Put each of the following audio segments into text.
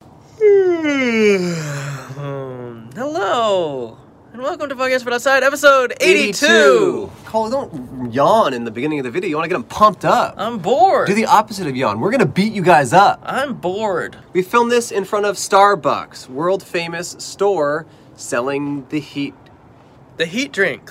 Um, hello and welcome to podcast from outside episode 82. Cole, don't yawn in the beginning of the video. You want to get them pumped up. i'm bored Do the opposite of yawn. We're going to beat you guys up. i'm bored We filmed this in front of Starbucks, world famous store selling the heat. the heat drink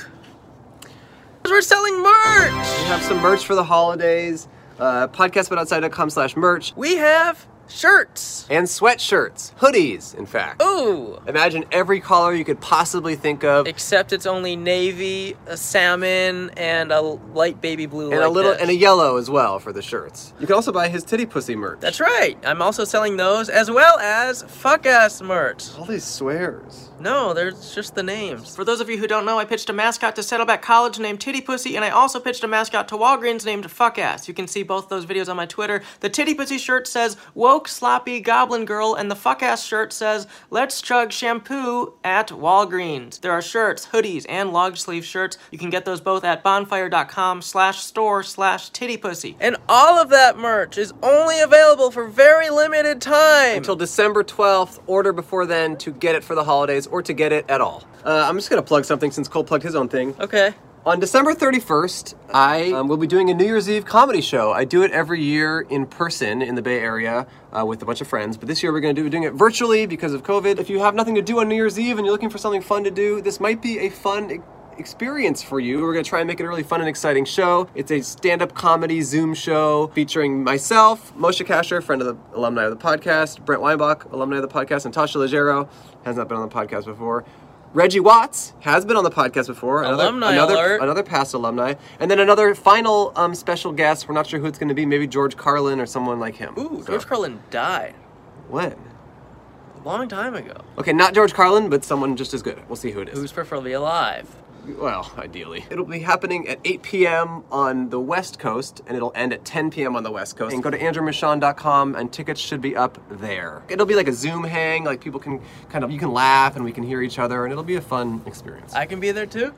'Cause we're selling merch We have some merch for the holidays. Uh, podcastbutoutside.com slash merch. we have shirts And sweatshirts, hoodies, in fact. ooh Imagine every color you could possibly think of. except it's only navy a salmon and a light baby blue And a like little this. and a yellow as well for the shirts. You can also buy his titty pussy merch. that's right i'm also selling those as well as fuck ass merch all these swears. No, there's just the names. For those of you who don't know, I pitched a mascot to Saddleback College named Titty Pussy, and I also pitched a mascot to Walgreens named Fuckass. You can see both those videos on my Twitter. The Titty Pussy shirt says Woke Sloppy Goblin Girl, and the Fuckass shirt says Let's Chug Shampoo at Walgreens. There are shirts, hoodies, and long sleeve shirts. You can get those both at bonfire.com slash store slash titty pussy. And all of that merch is only available for very limited time. Till December 12th, order before then to get it for the holidays or to get it at all. Uh, I'm just gonna plug something since Cole plugged his own thing. okay. On December 31st, I um, will be doing a New Year's Eve comedy show. I do it every year in person in the Bay Area uh, with a bunch of friends, but this year we're going to do doing it virtually because of COVID. If you have nothing to do on New Year's Eve and you're looking for something fun to do, this might be a fun e- experience for you. We're going to try and make it a really fun and exciting show. It's a stand-up comedy Zoom show featuring myself, Moshe Kasher, friend of the alumni of the podcast, Brent Weinbach, alumni of the podcast, and Tasha Leggero, has not been on the podcast before. Reggie Watts has been on the podcast before. Another- Alumni another, alert. another past alumni, and then another final um, special guest. We're not sure who it's going to be. Maybe George Carlin or someone like him. Ooh, So- George Carlin died When? a long time ago. Okay, not George Carlin, but someone just as good. We'll see who it is. who's preferably alive. well, ideally, it'll be happening at 8 p.m. on the West Coast, and it'll end at 10 p.m. on the West Coast. And go to andrewmichon.com, and tickets should be up there. It'll be like a Zoom hang. Like people can kind of you can laugh, and we can hear each other, and it'll be a fun experience. I can be there too?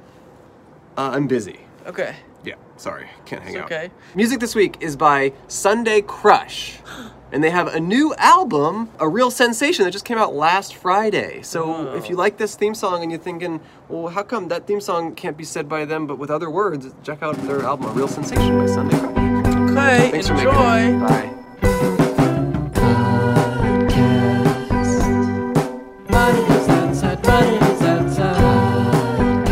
uh, I'm busy. Okay. Yeah, sorry, can't hang It's out. okay. Music this week is by Sunday Crush. And they have a new album, a real sensation that just came out last Friday. So Oh. if you like this theme song and you're thinking, well, how come that theme song can't be said by them but with other words? Check out their album, A Real Sensation by Sunday Crush. Okay, Thanks for making it. enjoy. Bye. Money is outside, money is outside.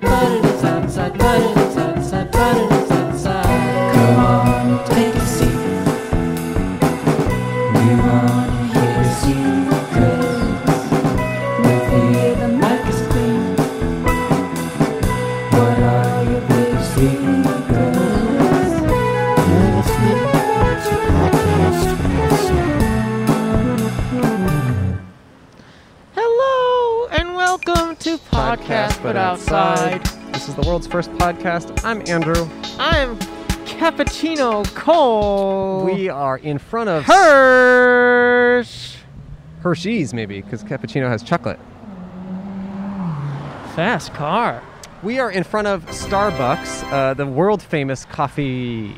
Money is outside, money is outside, money is outside. Come on, take a seat. We want to hear the secrets. We feel the mic is clean. What are your big secrets? Hello and welcome to Podcast But Outside. This is the world's first podcast. I'm Andrew. I'm Cappuccino Cole. We are in front of Hirsch. Hershey's, maybe, because cappuccino has chocolate. Fast car. We are in front of Starbucks, uh, the world famous coffee.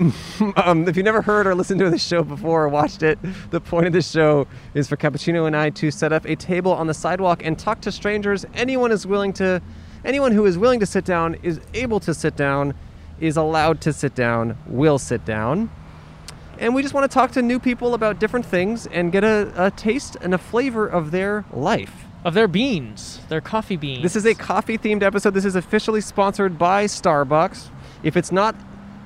um, if you've never heard or listened to this show before or watched it, the point of this show is for Cappuccino and I to set up a table on the sidewalk and talk to strangers. Anyone is willing to, anyone who is willing to sit down is able to sit down, is allowed to sit down, will sit down. And we just want to talk to new people about different things and get a, a taste and a flavor of their life. Of their beans, their coffee beans. This is a coffee themed episode. This is officially sponsored by Starbucks. If it's not,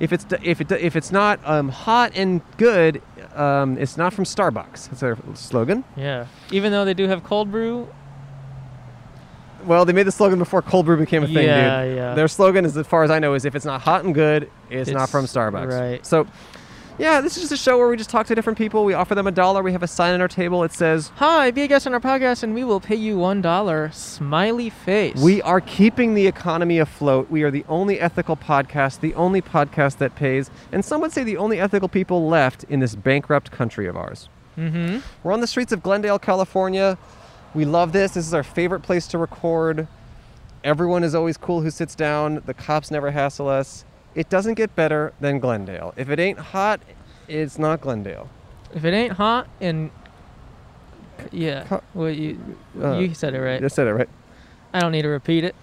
if it's if it if it's not um, hot and good, um, it's not from Starbucks. That's their slogan. Yeah. Even though they do have cold brew, Well, they made the slogan before cold brew became a thing, Yeah, dude. yeah. Their slogan, is, as far as I know, is if it's not hot and good, it's, not It's- from Starbucks. right. So, yeah, this is just a show where we just talk to different people. We offer them a dollar. We have a sign on our table. It says. hi, be a guest on our podcast and we will pay you one dollar. Smiley face. We are keeping the economy afloat. We are the only ethical podcast, the only podcast that pays, and some would say the only ethical people left in this bankrupt country of ours. Mm-hmm. We're on the streets of Glendale, California. We love this. This is our favorite place to record. Everyone is always cool who sits down. The cops never hassle us. It doesn't get better than Glendale. If it ain't hot, it's not Glendale. If it ain't hot and yeah, Co- well you uh, you said it right. I said it right. I don't need to repeat it.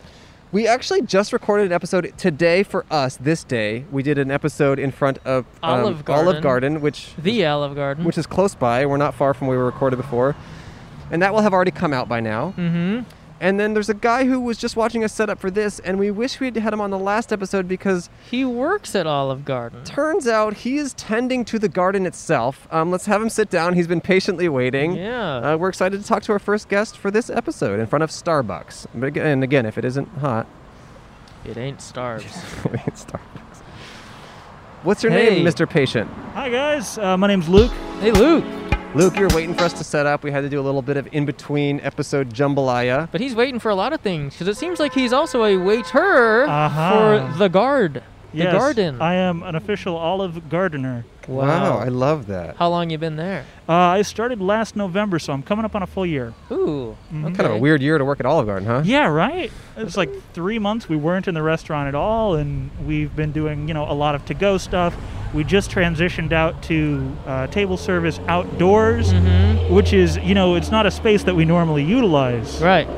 We actually just recorded an episode today for us. This day, we did an episode in front of um, Olive Garden. Olive Garden, which The Olive Garden. which is close by. We're not far from where we recorded before, and that will have already come out by now. mm-hmm. And then there's a guy who was just watching us set up for this, and we wish we had had him on the last episode because He works at Olive Garden. turns out he is tending to the garden itself. Um, let's have him sit down. He's been patiently waiting. Yeah. Uh, we're excited to talk to our first guest for this episode in front of Starbucks. But again, and again, if it isn't hot, it ain't starves. it's Starbucks. What's your Hey. name, Mr. Patient? Hi guys, uh, my name's Luke. hey Luke, Luke, you're waiting for us to set up. We had to do a little bit of in between episode jambalaya. but he's waiting for a lot of things because it seems like he's also a waiter Aha. for the guard, Uh-huh. Yes, the garden. I am an official olive gardener. Wow, I love that. How long you been there? Uh, I started last November, so I'm coming up on a full year. Ooh. Mm-hmm. Okay. Kind of a weird year to work at Olive Garden, huh? Yeah, right. It's like three months we weren't in the restaurant at all, and we've been doing you know a lot of to-go stuff. We just transitioned out to uh, table service outdoors, which is you know it's not a space that we normally utilize. Mm-hmm. Right.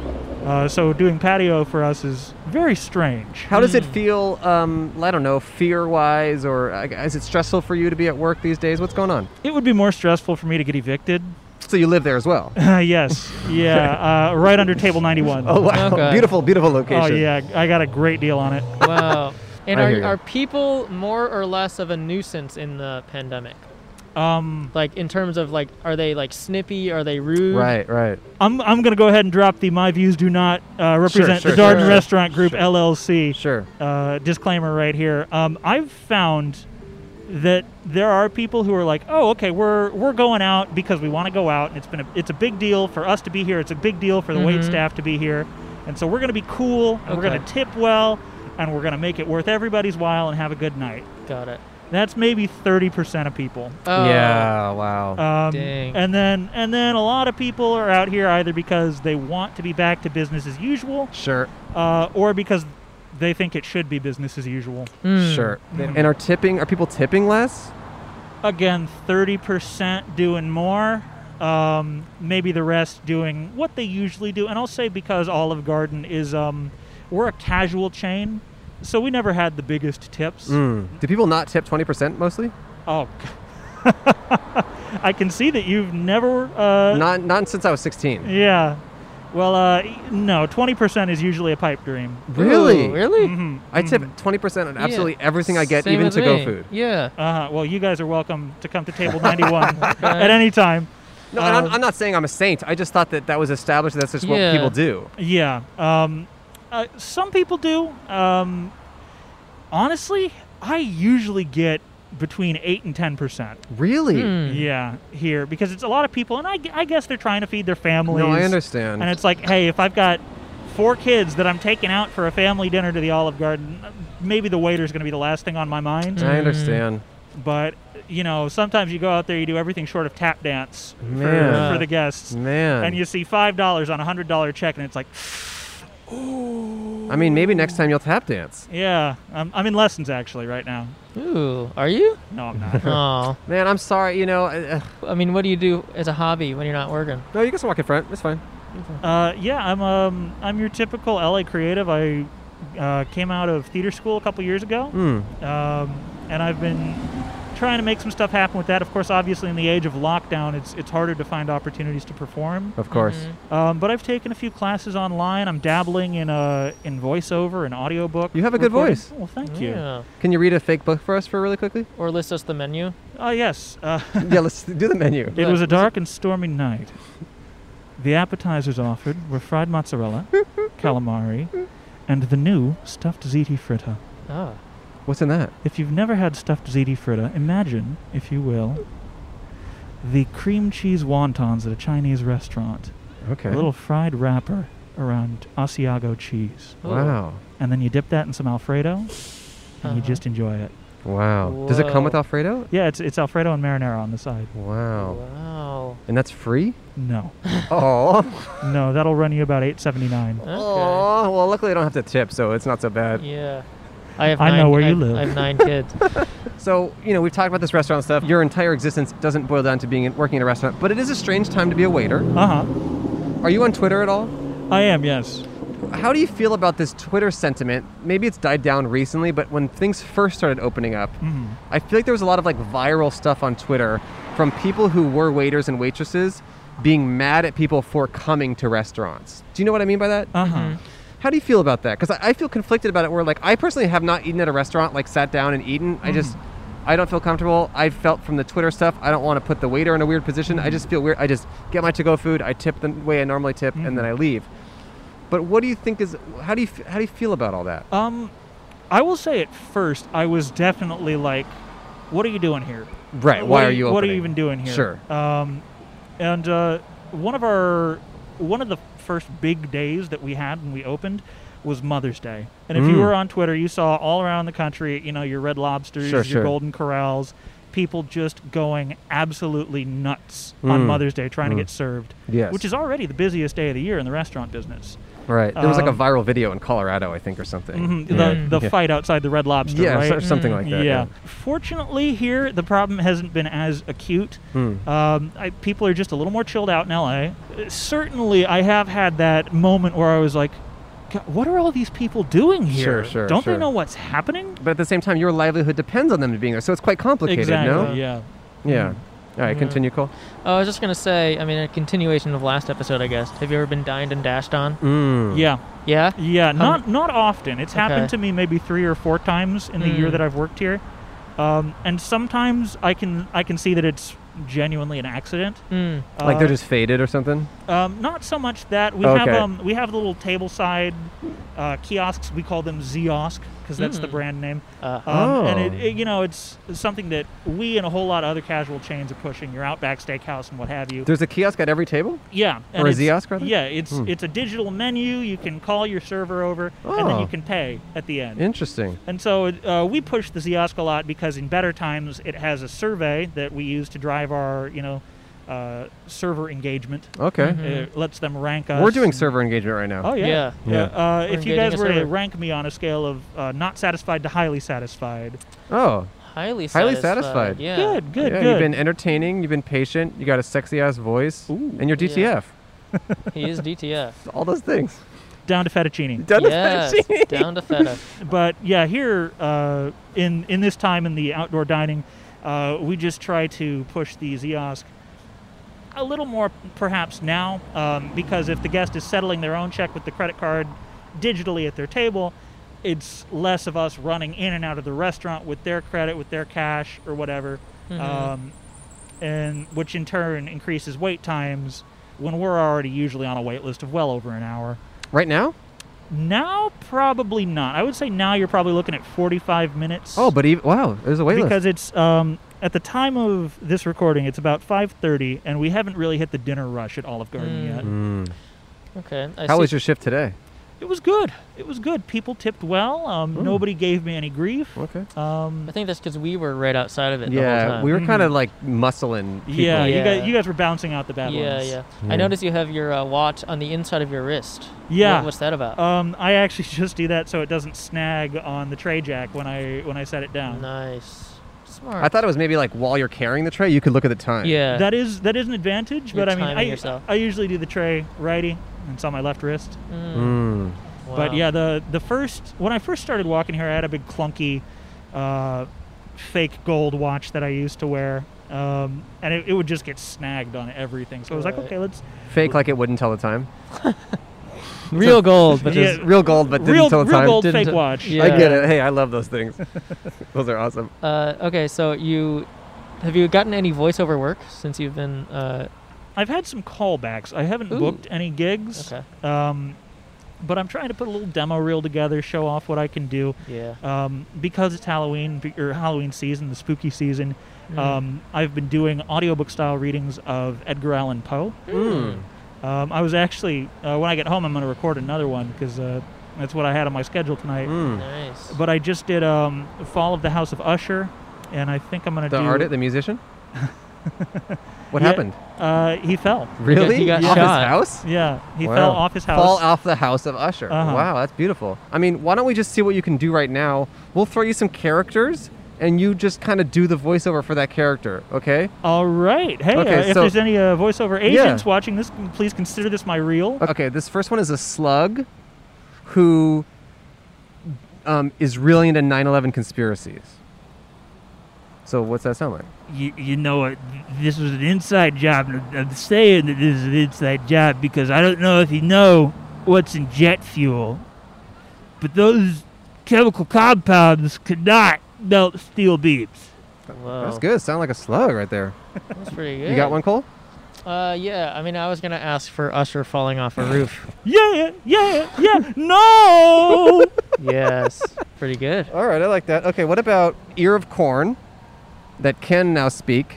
Uh, so doing patio for us is very strange. How does it feel, um, I don't know, fear wise, or uh, is it stressful for you to be at work these days? What's going on? It would be more stressful for me to get evicted. So you live there as well. Uh, yes, yeah, uh, right under table 91. Oh, wow. Okay. Beautiful, beautiful location. Oh yeah, I got a great deal on it. Wow. And I hear are, ya. are people more or less of a nuisance in the pandemic? Um, Like in terms of like, are they like snippy? Are they rude? Right, right. I'm I'm gonna go ahead and drop the my views do not uh, represent sure, the Darden sure. Restaurant Group LLC Sure. uh, disclaimer right here. Um, I've found that there are people who are like, oh, okay, we're we're going out because we want to go out, and it's been a, it's a big deal for us to be here. It's a big deal for the Mm-hmm. wait staff to be here, and so we're gonna be cool, and we're Okay. gonna tip well, and we're gonna make it worth everybody's while and have a good night. Got it. That's maybe 30% of people. Oh, yeah, wow. Um, Dang. And then and then a lot of people are out here either because they want to be back to business as usual, sure, uh, or because they think it should be business as usual. Mm. sure. And are tipping, are people tipping less? Again, thirty percent doing more. Um, maybe the rest doing what they usually do. And I'll say because Olive Garden is um, we're a casual chain, so we never had the biggest tips. Mm. Do people not tip 20% mostly? Oh. I can see that you've never uh, not, not since I was 16. Yeah. Well, uh, no, 20% is usually a pipe dream. Really? Ooh, Oh. really? Mm-hmm. Mhm, I tip mhm. 20% on Yeah. absolutely everything I get, Same even with to go me. food. Yeah. Uh-huh. Well, you guys are welcome to come to table 91 at any time. No, and I'm, Um, I'm not saying I'm a saint. I just thought that that was established. That's just what Yeah. people do. Yeah. Um, uh, some people do. Um, honestly, I usually get between 8 and 10%. Really? Mm. Yeah, here. Because it's a lot of people, and I, gu- I guess they're trying to feed their families. No, I understand. And it's like, hey, if I've got four kids that I'm taking out for a family dinner to the Olive Garden, maybe the waiter's going to be the last thing on my mind. Hmm. I understand. but you know sometimes you go out there you do everything short of tap dance for- Man. For, the guests Man. and you see five dollars on a hundred dollar check and it's like I mean, maybe next time you'll tap dance. yeah I'm, I'm in lessons actually right now Ooh. Are you? no i'm not Oh. Man, I'm sorry. You know, uh, I mean, what do you do as a hobby when you're not working? no, you can still walk in front. It's fine. uh, yeah i'm um, i'm your typical la creative i uh, came out of theater school a couple years ago Hmm. um, and i've been trying to make some stuff happen with that of course obviously in the age of lockdown it's it's harder to find opportunities to perform Of Hmm. course. Um, but I've taken a few classes online. I'm dabbling in uh, in voiceover and audiobook. You have a good recording. voice. Well, thank Yeah. Can you read a fake book for us for really quickly? Or list us the menu. you. Oh, yes. Uh, yeah, let's do the menu. it Look, was a was dark and stormy night. The appetizers offered were fried mozzarella, calamari, and the new stuffed ziti fritta. Oh. What's in that? If you've never had stuffed ziti fritta, imagine, if you will, the cream cheese wontons at a Chinese restaurant. Okay. A little fried wrapper around Asiago cheese. Wow. and then you dip that in some Alfredo, and Uh-huh. you just enjoy it. Wow. Does it come with Whoa. Alfredo? Yeah, it's it's Alfredo and marinara on the side. Wow. Wow. And that's free? No, Oh. no, Uh. that'll run you about eight seventy nine. Okay. Oh, well, luckily I don't have to tip, so it's not so bad. Yeah. I have. I nine, know where you I've- live. I have nine kids. So, you know, we've talked about this restaurant stuff. Your entire existence doesn't boil down to being working at a restaurant, but it is a strange time to be a waiter. Uh huh. Are you on Twitter at all? I am. Yes. How do you feel about this Twitter sentiment? Maybe it's died down recently, but when things first started opening up, I feel like there was a lot of like viral stuff on Twitter from people who were waiters and waitresses being mad at people for coming to restaurants. Do you know what I mean by that? Uh huh. How do you feel about that? Because I, I feel conflicted about it. Where like I personally have not eaten at a restaurant, like sat down and eaten. I Mm. just I don't feel comfortable. I felt from the Twitter stuff. I don't want to put the waiter in a weird position. I Mm. just feel weird. I just get my to-go food. I tip the way I normally tip, and Mm. then I leave. But what do you think is how do you f- how do you feel about all that? Um, I will say at first I was definitely like, "What are you doing here? Right. What why are you? What are opening? you even doing here?" Sure. Um, and uh, one of our one of the first big days that we had when we opened was Mother's Day. And if you Mm. were on Twitter, you saw all around the country, you know, your Red Lobsters, Sure, your sure. Golden Corrals, people just going absolutely nuts on Mm. Mother's Day trying Mm. to get served. Yes. Which is already the busiest day of the year in the restaurant business. Right. There was like a Um, viral video in Colorado, I think, or something. Mhm, Yeah. The, the Yeah. fight outside the Red Lobster, Yeah, right? so- Mm, something like that. yeah. Fortunately, here the problem hasn't been as acute. Hmm. Um, I, people are just a little more chilled out in LA. Uh, Certainly, I have had that moment where I was like, "God, "What are all these people doing here? Sure, sure, Don't sure. they know what's happening?" But at the same time, your livelihood depends on them being there, so it's quite complicated. exactly. No. Yeah. Yeah. All right. Yeah. Continue, Cole. Oh, I was just gonna say. I mean, a continuation of last episode, I guess. Have you ever been dined and dashed on? Mm. Yeah. Yeah. Yeah. Um, Not not often. It's Okay. happened to me maybe three or four times in the Hmm. year that I've worked here, um, and sometimes I can I can see that it's genuinely an accident. Mm. Hmm. Like they're Uh, just faded or something. Um, not so much that we have Okay. um, we have little table side uh, kiosks. We call them Ziosk because that's the brand name. Uh, Um, And it, Oh. it- you know it's something that we and a whole lot of other casual chains are pushing. Your Outback Steakhouse and what have you. There's a kiosk at every table. yeah, and or a it's- Ziosk, rather? Yeah, it's Hmm. it's a digital menu. You can call your server over, and then Oh. you can pay at the end. Interesting. And so uh, we push the Ziosk a lot because in better times it has a survey that we use to drive our you know uh, server engagement. Okay. Mm-hmm. It lets them rank us. We're doing and- server engagement right now. Oh yeah. Hmm. Yeah. Yeah. Uh, We're if you engaging guys a were to server. rank me on a scale of uh, not satisfied to highly satisfied, Oh, Highly satisfied. Highly satisfied. Yeah. good, good, yeah. good. You've been entertaining. You've been patient. You got a sexy ass voice, Ooh. and you're Yeah. DTF. He is DTF. All those things. down to fettuccine. Done yes. with that. Down to feta. But yeah, here uh, in in this time in the outdoor dining, uh, we just try to push the Ziosk a little more perhaps now um, because if the guest is settling their own check with the credit card digitally at their table. It's less of us running in and out of the restaurant with their credit, with their cash, or whatever. Um, and which in turn increases wait times when we're already usually on a wait list of well over an hour. Right now? Now, probably not. I would say now you're probably looking at 45 minutes. Oh, but even wow, there's a wait list. because it's um, at the time of this recording, it's about 5:30, and we haven't really hit the dinner rush at Olive Garden yet. Mm. Okay. I How see. was your shift today? It was good. It was good. People tipped well. Um, nobody gave me any grief. Okay. Um, I think that's because we were right outside of it. the whole Yeah, time. we were Mhm. kind of like muscling. People. yeah, you Yeah. guys, you guys were bouncing out the bad Yeah, ones. yeah, Yeah. I noticed you have your uh, watch on the inside of your wrist. Yeah. What, what's that about? Um, I actually just do that so it doesn't snag on the tray jack when I when I set it down. nice. Smart. I thought it was maybe like while you're carrying the tray, you could look at the time. Yeah. That is that is an advantage, You're but I mean, timing I, yourself. I usually do the tray righty, and it's on my left wrist. Mm. But Wow. yeah, the the first when I first started walking here, I had a big clunky, uh, fake gold watch that I used to wear, um, and it, it would just get snagged on everything. So I was Right. like, okay, let's Fake like it wouldn't tell the time. real gold, but Yeah. just Real gold, but didn't real tell real the time. gold Didn't fake t- watch. Yeah. I get it. Hey, I love those things. those are awesome. Uh, okay, so you have you gotten any voiceover work since you've been? Uh, I've had some callbacks. I haven't Ooh. booked any gigs. okay, Um, but I'm trying to put a little demo reel together, show off what I can do. yeah, um, because it's Halloween be- or Halloween season, the spooky season. Mm. Um, I've been doing audiobook style readings of Edgar Allan Poe. Mm. Um, I was actually uh, when I get home, I'm going to record another one because uh, that's what I had on my schedule tonight. Mm. nice. But I just did um, Fall of the House of Usher, and I think I'm going to The do artist, the musician. What Yeah, happened? Uh, he fell. Really? he got off shot. his house? Yeah, he Wow. fell off his house. Fall off the house of Usher. Uh-huh. Wow, that's beautiful. I mean, why don't we just see what you can do right now? We'll throw you some characters, and you just kind of do the voiceover for that character, okay? All right. Hey, Okay, uh, if so- there's any uh, voiceover agents watching this, mm, please consider this my reel. Okay, this first one is a slug who um, is really into 9 11 conspiracies. So, what's that sound like? You, you know what? This was an inside job. and I'm saying that this is an inside job because I don't know if you know what's in jet fuel, but those chemical compounds could not melt steel beams. Whoa. Oh. That's good. Sound like a slug right there. That's pretty good. You got one, Cole? Uh, yeah. I mean, I was gonna ask for Usher falling off a roof. Yeah, yeah, yeah. no. yes. Pretty good. All right, I like that. Okay, what about Ear of Corn that can now speak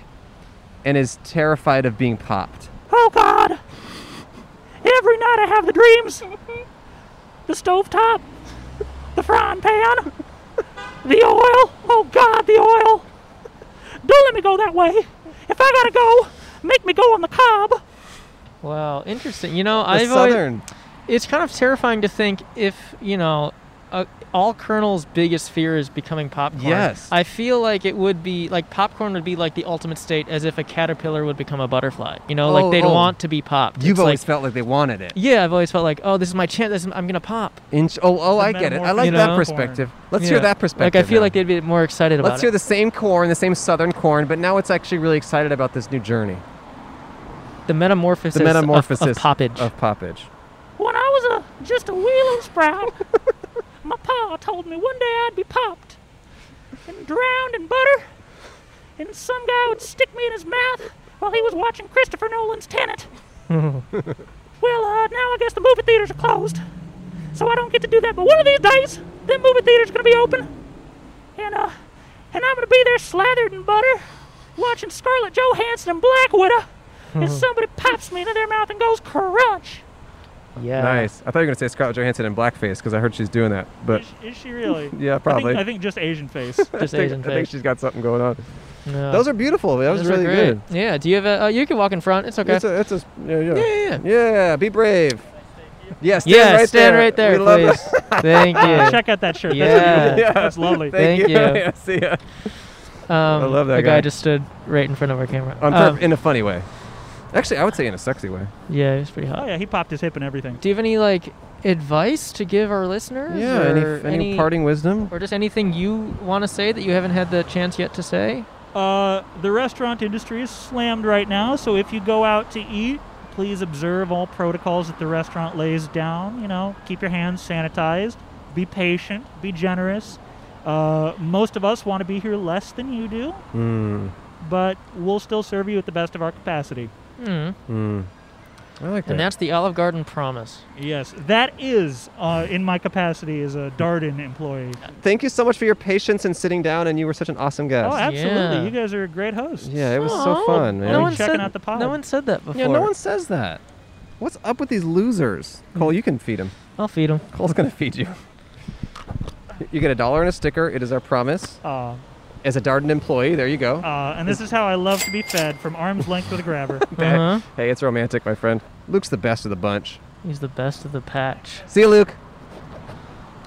and is terrified of being popped? Oh God! Every night I have the dreams. The stovetop, the frying pan, the oil. Oh God, the oil! Don't let me go that way. If I gotta go, make me go on the cob. Wow. Interesting. You know, The I've always, Southern. it's kind of terrifying to think if you know. Uh, all Colonel's biggest fear is becoming popcorn. Yes. I feel like it would be like popcorn would be like the ultimate state, as if a caterpillar would become a butterfly. You know, Oh, like they'd oh. want to be popped. You've It's always like, felt like they wanted it. yeah, I've always felt like, oh, this is my chance. This is, I'm gonna pop. Inch. Oh, oh, The I get it. I metamorphosis like of that corn. perspective. Let's hear Yeah. that perspective. Like I feel now. like they'd be more excited about Let's hear it. the same corn, the same southern corn, but now it's actually really excited about this new journey. the metamorphosis. The of- metamorphosis of, poppage. Of poppage. When I was a just a wheeling sprout, my pa told me one day I'd be popped and drowned in butter, and some guy would stick me in his mouth while he was watching Christopher Nolan's Tenet. well, uh, now I guess the movie theaters are closed, so I don't get to do that. But one of these days, that movie theater's gonna be open, and uh, and I'm gonna be there slathered in butter, watching Scarlett Johansson and Black Widow, and somebody pops me into their mouth and goes crunch. yeah. Nice. I thought you were going to say Scarlett Johansson in blackface because I heard she's doing that. But Is, is she really? Yeah, I think- probably. I think, just Asian face. Just I, think, Asian I think face. she's got something going on. No. Those are beautiful. That was Those are really great. good. Yeah. Do you have a? Uh, you can walk in front. It's okay. It's a, it's a, yeah, yeah. Yeah, yeah, Yeah, be brave. Yeah, stand yeah. right stand there. right there, We love that. please. Thank you. Check out that shirt. Yeah. That's, Yeah. beautiful. That's lovely. Thank, Thank you. you. Yeah, see ya. Um, I love that the guy. guy. just stood right in front of our camera. On Um, purp- in a funny way. Actually, I would say in a sexy way. yeah, he was pretty hot. Oh yeah, he popped his hip and everything. Do you have any like advice to give our listeners? Yeah. Any, Or any, parting wisdom? Or just anything you want to say that you haven't had the chance yet to say? Uh, the restaurant industry is slammed right now, so if you go out to eat, please observe all protocols that the restaurant lays down. You know, keep your hands sanitized, be patient, be generous. Uh, most of us want to be here less than you do, Hmm. Mm, but we'll still serve you at the best of our capacity. Mm. mm. I like that. And that's the Olive Garden promise. Yes, that is uh, in my capacity as a Darden employee. Thank you so much for your patience and sitting down, and you were such an awesome guest. Oh, absolutely! Yeah. You guys are great hosts. yeah, it was Aw, so fun, man. No one Checking said, out the pod. No one said that before. yeah, no one says that. What's up with these losers? Cole, you can feed him. I'll feed him. Cole's gonna feed you. You get a dollar and a sticker. It is our promise. Uh, As a Darden employee, there you go. uh, and this is how I love to be fed from arm's length with a grabber. Uh-huh. Hey, it's romantic, my friend. Luke's the best of the bunch. He's the best of the patch. See you, Luke.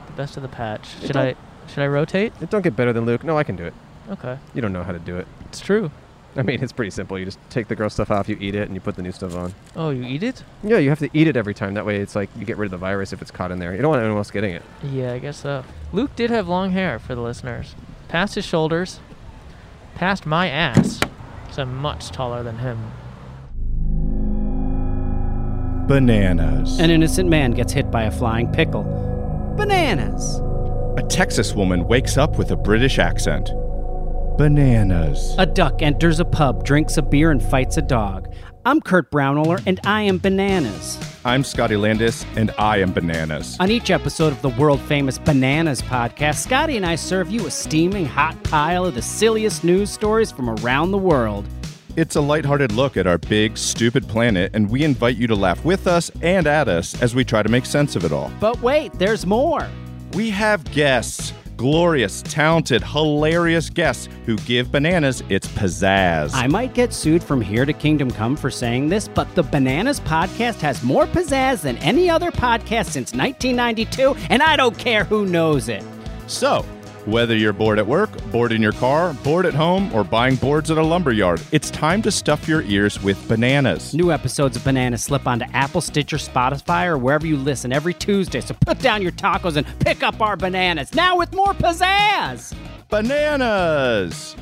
The best of the patch. It Should don't- I should I rotate? It don't get better than Luke. No, I can do it. Okay. You don't know how to do it. It's true. I mean, it's pretty simple. You just take the gross stuff off, you eat it, and you put the new stuff on. Oh, you eat it? Yeah, you have to eat it every time. That way, it's like you get rid of the virus if it's caught in there. You don't want anyone else getting it. Yeah, I guess so. Luke did have long hair for the listeners. Past his shoulders, past my ass. Cuz I'm much taller than him. Bananas. An innocent man gets hit by a flying pickle. Bananas. a Texas woman wakes up with a British accent. Bananas. A duck enters a pub, drinks a beer, and fights a dog. I'm Kurt Brownoller, and I am Bananas. I'm Scotty Landis, and I am bananas. On each episode of the world famous Bananas podcast, Scotty and I serve you a steaming hot pile of the silliest news stories from around the world. It's a lighthearted look at our big, stupid planet, and we invite you to laugh with us and at us as we try to make sense of it all. But wait, there's more. We have guests glorious, talented, hilarious guests who give bananas its pizzazz. I might get sued from here to Kingdom Come for saying this, but the Bananas podcast has more pizzazz than any other podcast since 1992, and I don't care who knows it. So, whether you're bored at work, bored in your car, bored at home, or buying boards at a lumber yard, it's time to stuff your ears with bananas. New episodes of Bananas slip onto Apple, Stitcher, Spotify, or wherever you listen every Tuesday, so put down your tacos and pick up our bananas now with more pizzazz. Bananas!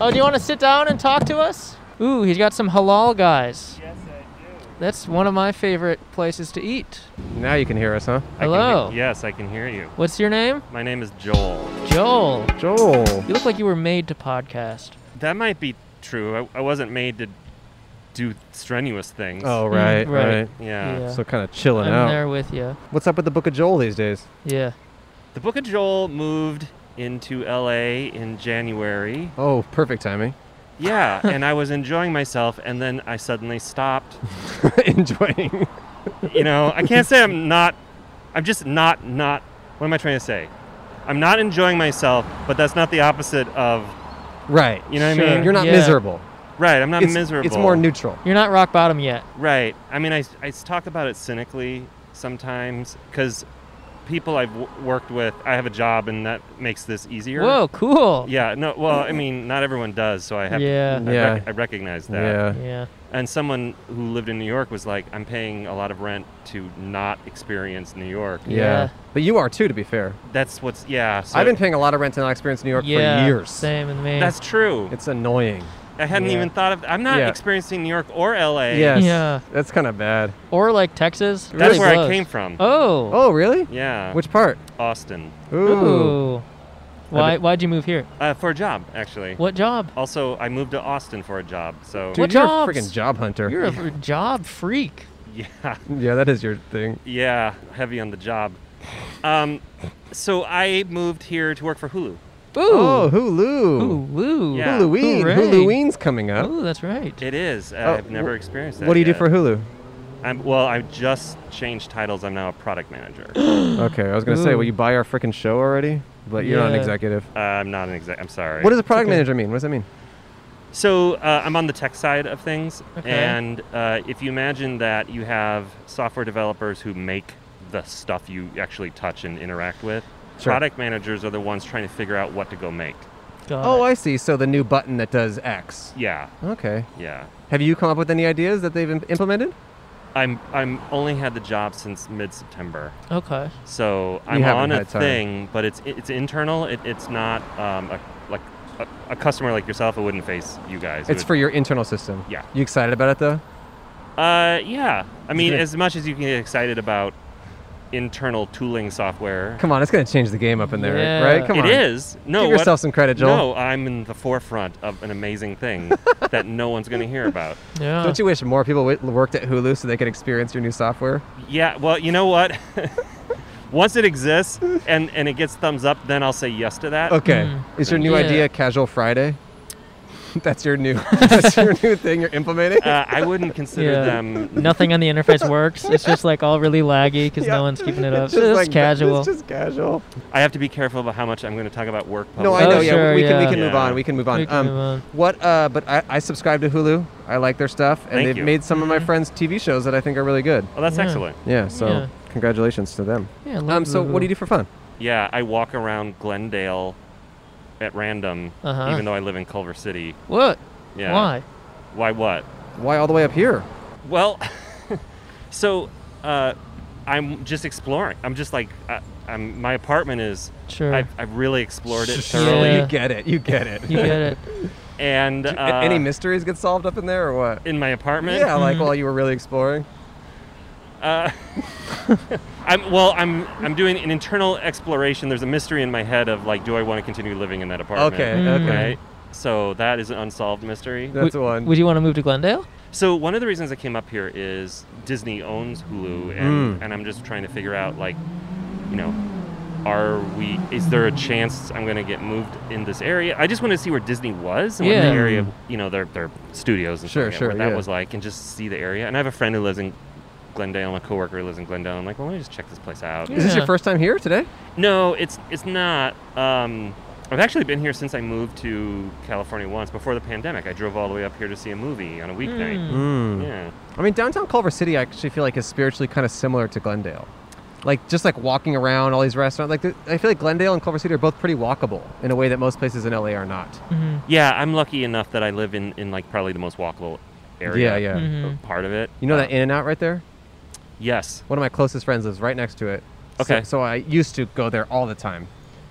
Oh, do you want to sit down and talk to us? Ooh, he's got some halal guys. Yes, I That's one of my favorite places to eat. Now you can hear us, huh? Hello. yes, I can hear you. What's your name? My name is Joel. Joel. Joel. You look like you were made to podcast. That might be true. I, I wasn't made to do strenuous things. Oh, right, right. right. Yeah. Yeah. So kind of chilling I'm out. there with you. What's up with the Book of Joel these days? Yeah. The Book of Joel moved into LA in January. Oh, perfect timing. Yeah, and I was enjoying myself, and then I suddenly stopped. Enjoying. You know, I can't say I'm not, I'm just not, not, what am I trying to say? I'm not enjoying myself, but that's not the opposite of, Right. you know what I Sure. mean? You're not Yeah. miserable. right, I'm not it's, miserable. It's more neutral. You're not rock bottom yet. Right. I mean, I, s- I s- talk about it cynically sometimes because people I've w- worked with, I have a job and that makes this easier. Whoa, cool. Yeah. No, well, I mean, not everyone does, so I have Yeah. I, Yeah. rec- I recognize that. Yeah. Yeah. And someone who lived in New York was like, I'm paying a lot of rent to not experience New York. yeah. Yeah. But you are too, to be fair. That's what's, yeah. So I've been paying a lot of rent and not experienced in New York yeah. for years. Same with me. That's true. It's annoying. I hadn't yeah. even thought of. I'm not Yeah. experiencing New York or LA. Yes. Yeah. That's kind of bad. or like Texas. That's really where blows. I came from. Oh. Oh, really? Yeah. Which part? Austin. Oh. Ooh. Why why'd you move here? Uh, for a job, actually. What job? Also, I moved to Austin for a job, so What Dude, you're a jobs? freaking job hunter. You're a job freak. yeah, yeah, that is your thing. yeah, heavy on the job. Um, so I moved here to work for Hulu. Ooh. Oh, Hulu. Ooh, woo. Yeah. Halloween. Hooray. Halloween's coming up. Ooh, that's right. It is. Uh, Oh, I've never experienced that. What do you do yet. for Hulu? I'm, well, I just changed titles. I'm now a product manager. Uh, Okay, I was gonna say, Ooh. will you buy our freaking show already? But you're not an Yeah. executive. uh, I'm not an exec. I'm sorry. What does a product okay. manager mean? What does that mean? So uh, I'm on the tech side of things, Okay. and uh, if you imagine that you have software developers who make the stuff you actually touch and interact with, Sure. product managers are the ones trying to figure out what to go make. Got Oh, it. I see. So the new button that does X. Yeah, Okay. yeah. Have you come up with any ideas that they've im- implemented? I'm I'm only had the job since mid September, okay. so I'm haven't on a had time. thing, but it's it's internal. It, it's not um, a, like a, a customer like yourself. It wouldn't face you guys. It It's for your internal system. Yeah. You excited about it though? would- uh yeah. I mean, good. as much as you can get excited about internal tooling software, Come on, it's gonna change the game up in there, Yeah. right? Come it on. is no Give what- yourself some credit, Joel. No, I'm in the forefront of an amazing thing that no one's going to hear about. Yeah. Don't you wish more people w- worked at Hulu so they could experience your new software? Yeah, well, you know what? Once it exists and, and it gets thumbs up, then I'll say yes to that. Okay. Mm. Is your new Yeah. idea Casual Friday? that's your new. that's your new thing you're implementing. Uh, I wouldn't consider Yeah. them. Nothing on the interface works. It's just like all really laggy because Yeah. no one's keeping it up. It's It's, like- casual. It's just casual. I have to be careful about how much I'm going to talk about work. No, I publicly. know. Oh, yeah, sure, we can we yeah. can move Yeah. on. We can move on. We can um, move on. What? Uh, but I, I subscribe to Hulu. I like their stuff, and Thank they've you. made some of my friends' TV shows that I think are really good. Oh, that's Yeah. excellent. Yeah. So Mm-hmm. Yeah. congratulations to them. yeah, Um. So what do you do for fun? Yeah, I walk around Glendale at random, Uh-huh. even though I live in Culver City. What? Yeah. Why? Why what? Why all the way up here? Well, so uh, I'm just exploring. I'm just like, uh, I'm, my apartment is, Sure. I've, I've really explored it Sure. thoroughly. Yeah. You get it. You get it. You get it. And A- uh, Any mysteries get solved up in there or what? in my apartment. Yeah, like while you were really exploring. I'm well. I'm I'm doing an internal exploration. There's a mystery in my head of like, do I want to continue living in that apartment? Okay. Mm. Okay. Right. So that is an unsolved mystery. That's would, one. Would you want to move to Glendale? So one of the reasons I came up here is Disney owns Hulu, and Hmm. and I'm just trying to figure out like, you know, are we? Is there a chance I'm going to get moved in this area? I just want to see where Disney was and what Yeah. the area, you know, their their studios and Sure, stuff like that, sure, what that yeah. was like, and just see the area. And I have a friend who lives in Glendale. My coworker lives in Glendale. I'm like, well, let me just check this place out. Is this Yeah. your first time here today? No, it's it's not. Um, I've actually been here since I moved to California once before the pandemic. I drove all the way up here to see a movie on a weeknight. Hmm. Yeah. I mean, downtown Culver City, I actually feel like is spiritually kind of similar to Glendale. Like just like walking around all these restaurants, like th- I feel like Glendale and Culver City are both pretty walkable in a way that most places in LA are not. Yeah, I'm lucky enough that I live in, in like probably the most walkable area. Yeah, yeah. Mm-hmm. uh, Part of it. You know Uh, that In and Out right there? Yes. One of my closest friends lives right next to it. So- Okay. So, I used to go there all the time,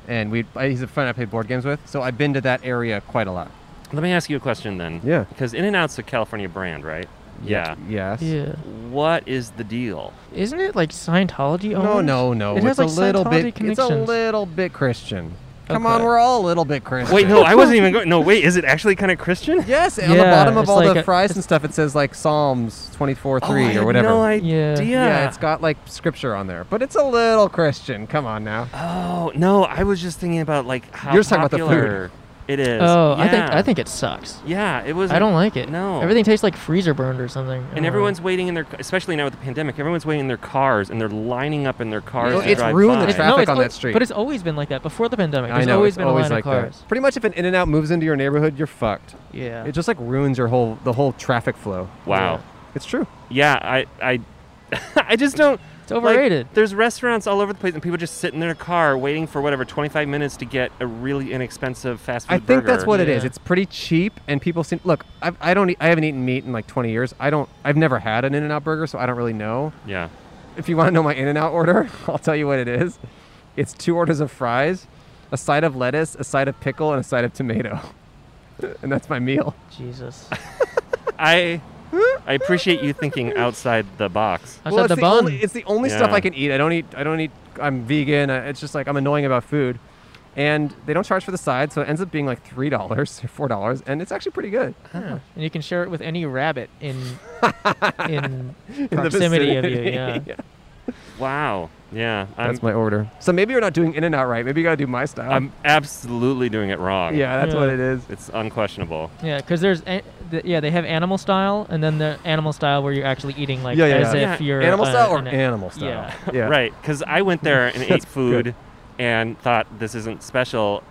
and we I, he's a friend I played board games with. So I've been to that area quite a lot. Let me ask you a question then. Yeah. Because In and Out's a California brand, right? Yeah. Yes. Yeah. What is the deal? Isn't it like Scientology? No, owned? no, no. It it's has like a little Scientology bit. It's a connections. little bit Christian. Come Okay. on, we're all a little bit Christian. Wait, no, I wasn't even going. No, wait, is it actually kind of Christian? Yes, on the Yeah, bottom of it's all like the a- fries and stuff, it says like Psalms 24 Oh, I 3 had or whatever. No idea. Yeah. yeah, it's got like scripture on there, but it's a little Christian. Come on now. Uh, oh no, I was just thinking about like how You're just talking about the food. popular it is. Oh, I think Yeah. I think it sucks. Yeah, it was. I don't like it. No. Everything Oh. tastes like freezer burned or something. And everyone's waiting in their, especially now with the pandemic, everyone's waiting in their cars and they're lining up in their cars. No, to it's drive ruined the by. It's- traffic no, it's on al- that street. But it's always been like that before the pandemic. There's I know. always it's been always a line like of cars. that. Pretty much, if an In and Out moves into your neighborhood, you're fucked. Yeah. It just like ruins your whole the whole traffic flow. Wow. It's true. Yeah, I, I, I just don't. it's like, overrated. there's restaurants all over the place, and people just sit in their car waiting for whatever 25 minutes to get a really inexpensive fast food I think that's burger. what it is. Yeah. It's pretty cheap, and people seem look. I've, I don't. Eat, I haven't eaten meat in like 20 years. I don't. I've never had an In and Out burger, so I don't really know. Yeah. If you want to know my In and Out order, I'll tell you what it is. It's two orders of fries, a side of lettuce, a side of pickle, and a side of tomato, and that's my meal. Jesus. I, I appreciate you thinking outside the box. I well, said it's the the, bun. only, it's the only stuff Yeah. I can eat. I don't eat. I don't eat. I'm vegan. uh, It's just like I'm annoying about food, and they don't charge for the side, so it ends up being like three dollars, four dollars, and it's actually pretty good. Yeah. And you can share it with any rabbit in in in the proximity of you. vicinity. Yeah. Wow. Yeah. I'm, That's my order. So maybe you're not doing In and Out right. Maybe you gotta do my style. I'm absolutely doing it wrong. yeah, that's what Yeah. it is. It's unquestionable. Yeah, because there's a, th- yeah they have animal style and then the animal style where you're actually eating like Yeah, yeah, as yeah. if Yeah, you're Animal uh, style or an- animal style? Yeah. yeah. Right, because I went there and ate That's food good. and thought this isn't special.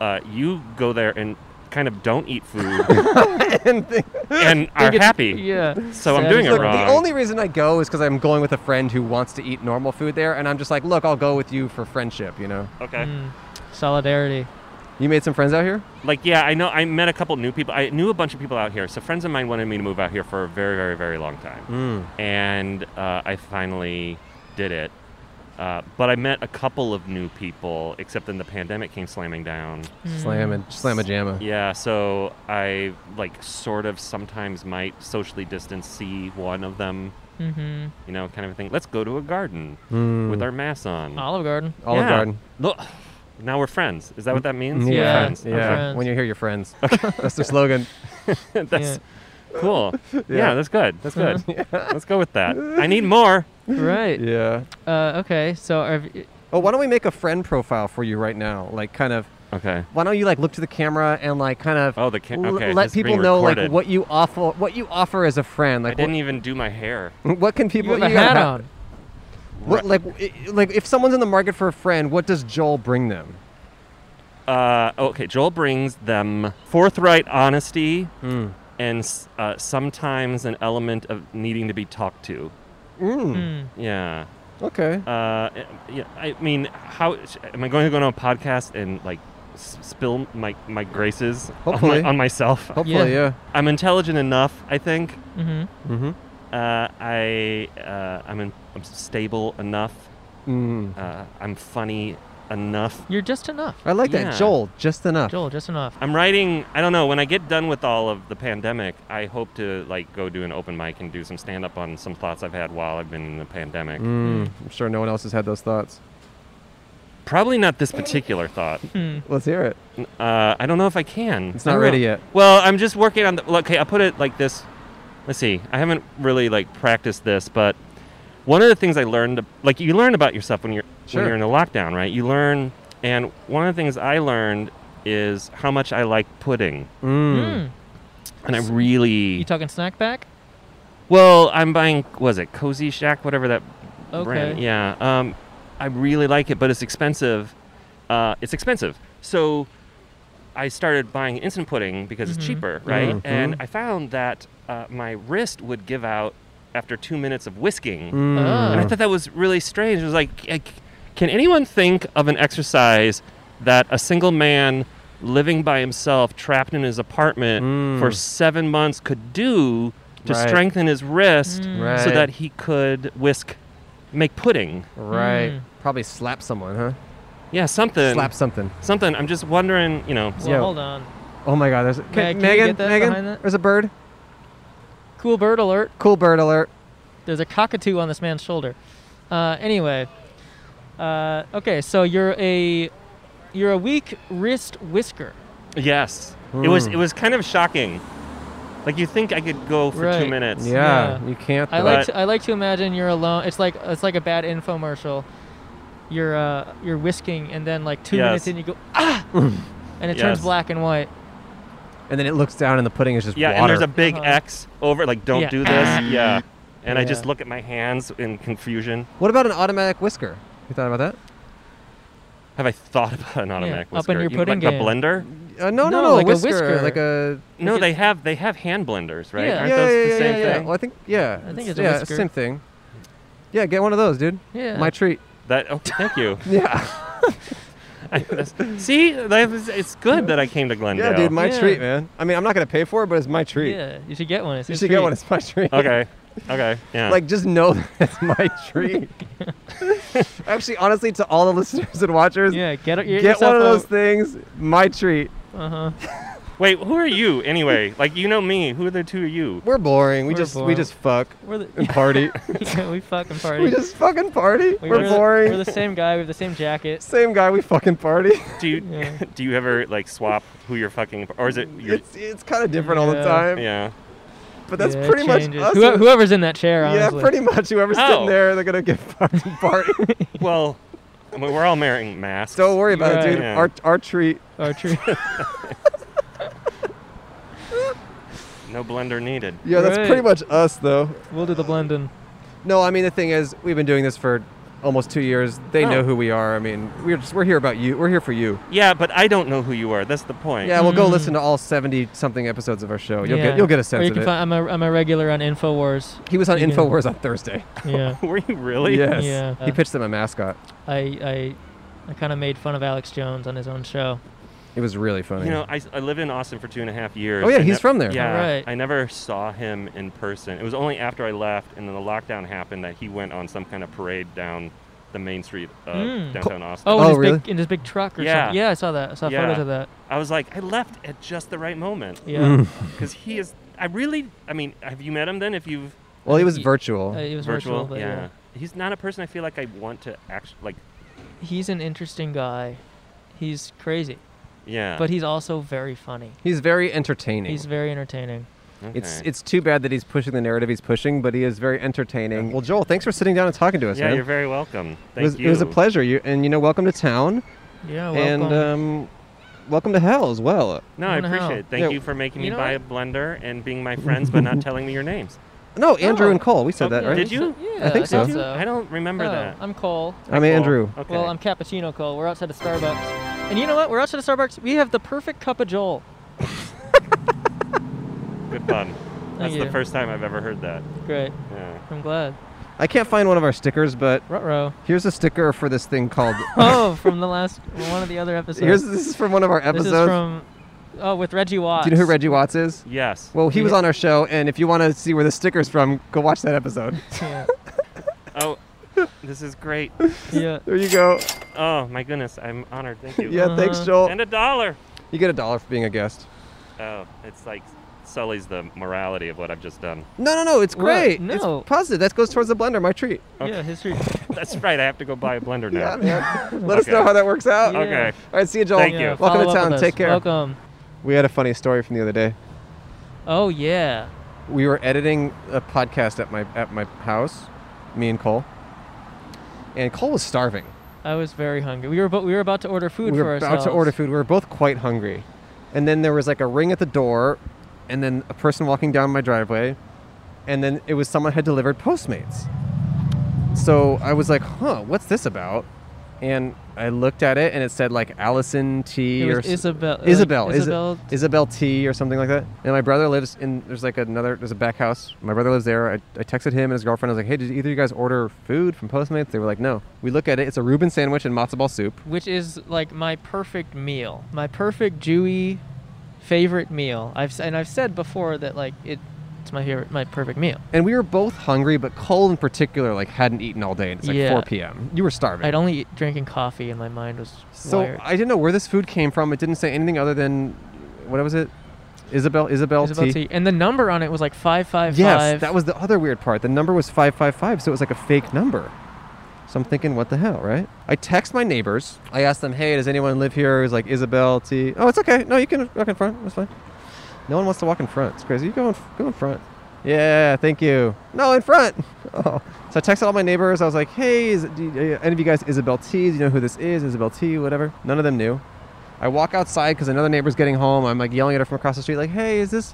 Uh, you go there and kind of don't eat food and the, and are Think it's- happy. Yeah. So I'm Sad doing it as look, fuck. the wrong. only reason I go is because I'm going with a friend who wants to eat normal food there, and I'm just like, look, I'll go with you for friendship. You know, Okay. Mm. Solidarity. you made some friends out here. Like, yeah, I know. I met a couple new people. I knew a bunch of people out here. So friends of mine wanted me to move out here for a very, very, very long time, Mm. and uh, I finally did it. Uh, but I met a couple of new people, except then the pandemic came slamming down. Slam and slam a jamma. Mm. Yeah, so I like sort of sometimes might socially distance see one of them, Mm-hmm. you know, kind of a thing. Let's go to a garden Mm. with our masks on. Olive Garden. Olive Yeah. Garden. Mm, Look, now we're friends. Is that what that means? We're Yeah. friends. yeah. We're Okay. friends. When you hear your friends, that's the slogan. that's cool. Yeah. that's good. That's good. Let's go with that. I need more. Right. Yeah. Uh, okay. So are, v- Oh, why don't we make a friend profile for you right now? Like, kind of. Okay. Why don't you like look to the camera and like kind of Oh, the ca- l- okay, let this is being people know like recorded. what you offer what you offer as a friend. I Like, didn't even do my hair. what, what can you people have a got hat a hat- on. What, like, i- like if someone's in the market for a friend, what does Joel bring them? Uh, okay, Joel brings them forthright honesty and s- uh, sometimes an element of needing to be talked to. Mm. Mm. Yeah. Okay. Uh, yeah, I mean, how am I going to go on a podcast and like s- spill my my graces on, Hopefully. my, on myself? Hopefully, yeah. I'm intelligent enough, I think. Mm-hmm. Mm-hmm. Uh, I uh, I'm in, I'm stable enough. Mm. Uh, I'm funny enough. You're just enough. I like Yeah. that. Joel, just enough. Joel, just enough. I'm writing. I don't know. When I get done with all of the pandemic, I hope to like go do an open mic and do some stand up on some thoughts I've had while I've been in the pandemic. Mm. I'm sure no one else has had those thoughts. Probably not this particular thought. Mm. Let's hear it. Uh, I don't know if I can. It's I not don't ready know. yet. Well, I'm just working on the. well, Okay, I'll put it like this. Let's see. I haven't really like practiced this, but one of the things I learned, like you learn about yourself when you're Sure. when you're in a lockdown, right? You learn, and one of the things I learned is how much I like pudding, Mm. Mm. and I S- really You talking snack pack? Well, I'm buying was it Cozy Shack, whatever that brand. Okay. Yeah. Um, I really like it, but it's expensive. Uh, it's expensive. So I started buying instant pudding because it's cheaper, right? And I found that uh, my wrist would give out after two minutes of whisking, Hmm. and I Uh. Oh. thought that was really strange. It was like, c- c- can anyone think of an exercise that a single man living by himself, trapped in his apartment for seven months, could do to Mm. Right. strengthen his wrist? Mm. Right. so that he could whisk, make pudding. right. Mm. Probably slap someone, huh? Yeah, something. slap something. Something. I'm just wondering, you know. Well, Yeah. hold on. Oh my God! There's can Megan. you Megan. get that Megan. behind that? There's a bird. Cool bird alert. Cool bird alert. There's a cockatoo on this man's shoulder. Uh, anyway, uh, okay, so you're a you're a weak wrist whisker. Yes. It was. Mm. It was kind of shocking. Like you think I could go for two Right. minutes. Yeah, Yeah. you can't. I though. like Right. to, I like to imagine you're alone. It's like it's like a bad infomercial. You're uh, you're whisking, and then like two minutes Yes. in, you go ah, and it turns Yes. black and white. and then it looks down, and the pudding is just Yeah. water. And there's a big Uh-huh. X over. Like, don't Yeah. do this. Yeah. And I just Yeah. look at my hands in confusion. What about an automatic whisker? You thought about Have I thought about an automatic up in whisker? your You mean pudding like game. a blender? that? Uh, no, no, No, no, like a whisker, whisker. like a No, Like a- they have they have hand blenders, right? Yeah. Aren't yeah, those yeah, the yeah, same yeah, yeah. thing? Well, I think yeah, think it's- it's a yeah, whisker. same thing. Yeah, get one of those, dude. Yeah. My treat. That. Okay. Thank you. Yeah, I- that's- See, that was- it's good that I came to Glendale. yeah, dude, my Yeah. treat, man. I mean, I'm not gonna pay for it, but it's my treat. Yeah, you should get one. It's You his should get treat. one. It's my treat. okay. Okay. Yeah. Like, just know that it's my treat. Actually, honestly, to all the listeners and watchers, Yeah, get, it- get yourself one of a- those things. My treat. Uh-huh. wait, who are you anyway? Like, you know me. Who are the two of you? We're boring. We We're just we boring. just fuck We're the, and party. yeah, we fucking party. we just fucking party. We- We're, the- boring. we're the same guy. We have the same jacket. same guy. We fucking party. Do you Yeah. do you ever like swap who you're fucking, or is it? Your, It's it's kind of different all the Yeah. time. yeah. But that's Yeah, it pretty much changes. us. Whoe- whoever's in that chair, yeah, honestly. pretty much. Whoever's sitting Oh. there, they're gonna get fucked and party. Well, I mean, we're all wearing masks. Don't worry about it, Right. dude. Yeah. Our our treat. Or tree. no blender needed. Yeah, that's Right. pretty much us, though. we'll do the blending. No, I mean the thing is, we've been doing this for almost two years. They know Oh. who we are. I mean, we're just we're here about you. We're here for you. Yeah, but I don't know who you are. That's the point. Yeah, well, go Mm. listen to all seventy something episodes of our show. Oh, You'll Yeah. get you'll get a or sense you of can it. Find, I'm, a, I'm a regular on Infowars. he was on you can- Infowars on Thursday. Yeah. Were you really? Yes. Yeah. He pitched them a mascot. I I, I kind of made fun of Alex Jones on his own show. It was really funny. You know, I, I lived in Austin for two and a half years. Oh, yeah, I he's from there. Yeah, All right. I never saw him in person. It was only after I left and then the lockdown happened that he went on some kind of parade down the main street of Mm. downtown Austin. Oh, in Oh, his really? big in his big truck or Yeah. something. Yeah, I saw that. I saw Yeah. photos of that. I was like, I left at just the right moment Yeah. Mm. because he is. I really, I mean, have you met him then? If you've well, he was He- virtual. Uh, it was virtual. virtual, but yeah. He's not a person I feel like I want to actually like. He's an interesting guy. He's crazy, Yeah, but he's also very funny. He's very entertaining. He's very entertaining. It's Okay. it's too bad that he's pushing the narrative he's pushing, but he is very entertaining. Well, Joel, thanks for sitting down and talking to us, yeah. man. You're very welcome. it Thank was, you. it was a pleasure. You and you know, welcome to town, Yeah. Welcome. and um, welcome to hell as well. No, I What the hell? appreciate it. Thank Yeah. you for making You me know buy a blender and being my friends, but not telling me your names. No, Andrew Oh. and Cole, we said that, right? Did you? Yeah. I think so. thought I don't remember Oh, that. I'm Cole. I'm Cool. Andrew. Okay. Well, I'm Cappuccino Cole. We're outside of Starbucks. And you know what? We're outside of Starbucks. We have the perfect cup of Joel. Good fun. That's you. the first time I've ever heard that. Great. Yeah. I'm glad. I can't find one of our stickers, but Ruh-roh. here's a sticker for this thing called. Oh, from the last one of the other episodes. here's this is from one of our this episodes. is from oh with Reggie Watts. Do you know who Reggie Watts is? Yes. Well, he was Yeah. on our show, and if you want to see where the sticker's from, go watch that episode. Yeah. Oh, this is great. yeah. there you go. Oh my goodness, I'm honored. Thank you. Yeah, thanks, Uh-huh. Joel. And a dollar. You get a dollar for being a guest. Oh, it's like sullies the morality of what I've just done. No, no, no. It's What? great. No. It's positive. That goes towards the blender. My treat. Yeah, history. That's right. I have to go buy a blender now. Yeah, man. Let us Okay. know how that works out. Yeah. Okay. All right. See you, Joel. Thank Yeah, you. Welcome to follow up town. with us. Take care. Welcome. We had a funny story from the other day. Oh yeah. We were editing a podcast at my at my house, me and Cole. And Cole was starving. I was very hungry. We were bo- we were about to order food we for were about ourselves. to order food. We were both quite hungry. And then there was like a ring at the door, and then a person walking down my driveway, and then it was someone had delivered Postmates. So I was like, huh, what's this about? And I looked at it and it said like Allison T It or was s- Isabel- like Isabel, Is- Isabel- Isabel T or something like that. And my brother lives in there's like another there's a back house. My brother lives there. I, I texted him and his girlfriend. I was like, hey, did either of you guys order food from Postmates? They were like, no. We look at it. It's a Reuben sandwich and matzo ball soup. which is like my perfect meal, my perfect Jewy favorite meal. I've s- and I've said before that like it, it's my favorite, my perfect meal. And we were both hungry, but Cole in particular like hadn't eaten all day. And it's like Yeah. 4 p.m. You were starving. I'd only eat drinking coffee, and my mind was So wired. I didn't know where this food came from. It didn't say anything other than what was it? Isabel Isabel, Isabel T. And the number on it was like five five Yes, five. that was the other weird part. The number was 555, so it was like a fake number. So I'm thinking, what the hell, right? I text my neighbors. I asked them, hey, does anyone live here who's like Isabel T? Oh, it's okay. No, you can walk in front. That's fine. No one wants to walk in front. It's crazy. You go in, go in front. Yeah, thank you. No, in front. Oh. So I texted all my neighbors. I was like, hey, is, do you, uh, any of you guys Isabel T? Do you know who this is? Isabel T, whatever. None of them knew. I walk outside because another neighbor's getting home. I'm like yelling at her from across the street, like, hey, is this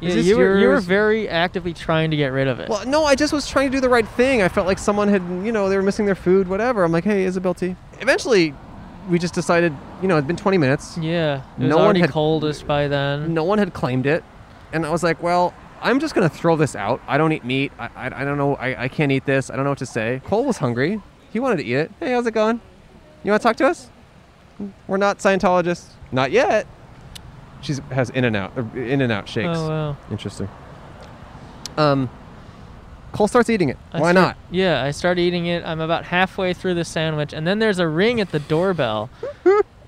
Yeah, is this you were you were yours? very actively trying to get rid of it. Well, no, I just was trying to do the right thing. I felt like someone had, you know, they were missing their food, whatever. I'm like, hey, Isabel T. Eventually, we just decided, you know, it'd been 20 minutes. yeah, it was no one already had- coldish by then. No one had claimed it. And I was like, well, I'm just going to throw this out. I don't eat meat. I, I, I don't know. I, I can't eat this. I don't know what to say. Cole was hungry. He wanted to eat it. Hey, how's it going? You want to talk to us? We're not Scientologists. Not yet. She has in and out, uh, in and out shakes. Oh wow. Interesting. Um, Cole starts eating it. I Why start- not? Yeah, I start eating it. I'm about halfway through the sandwich, and then there's a ring at the doorbell,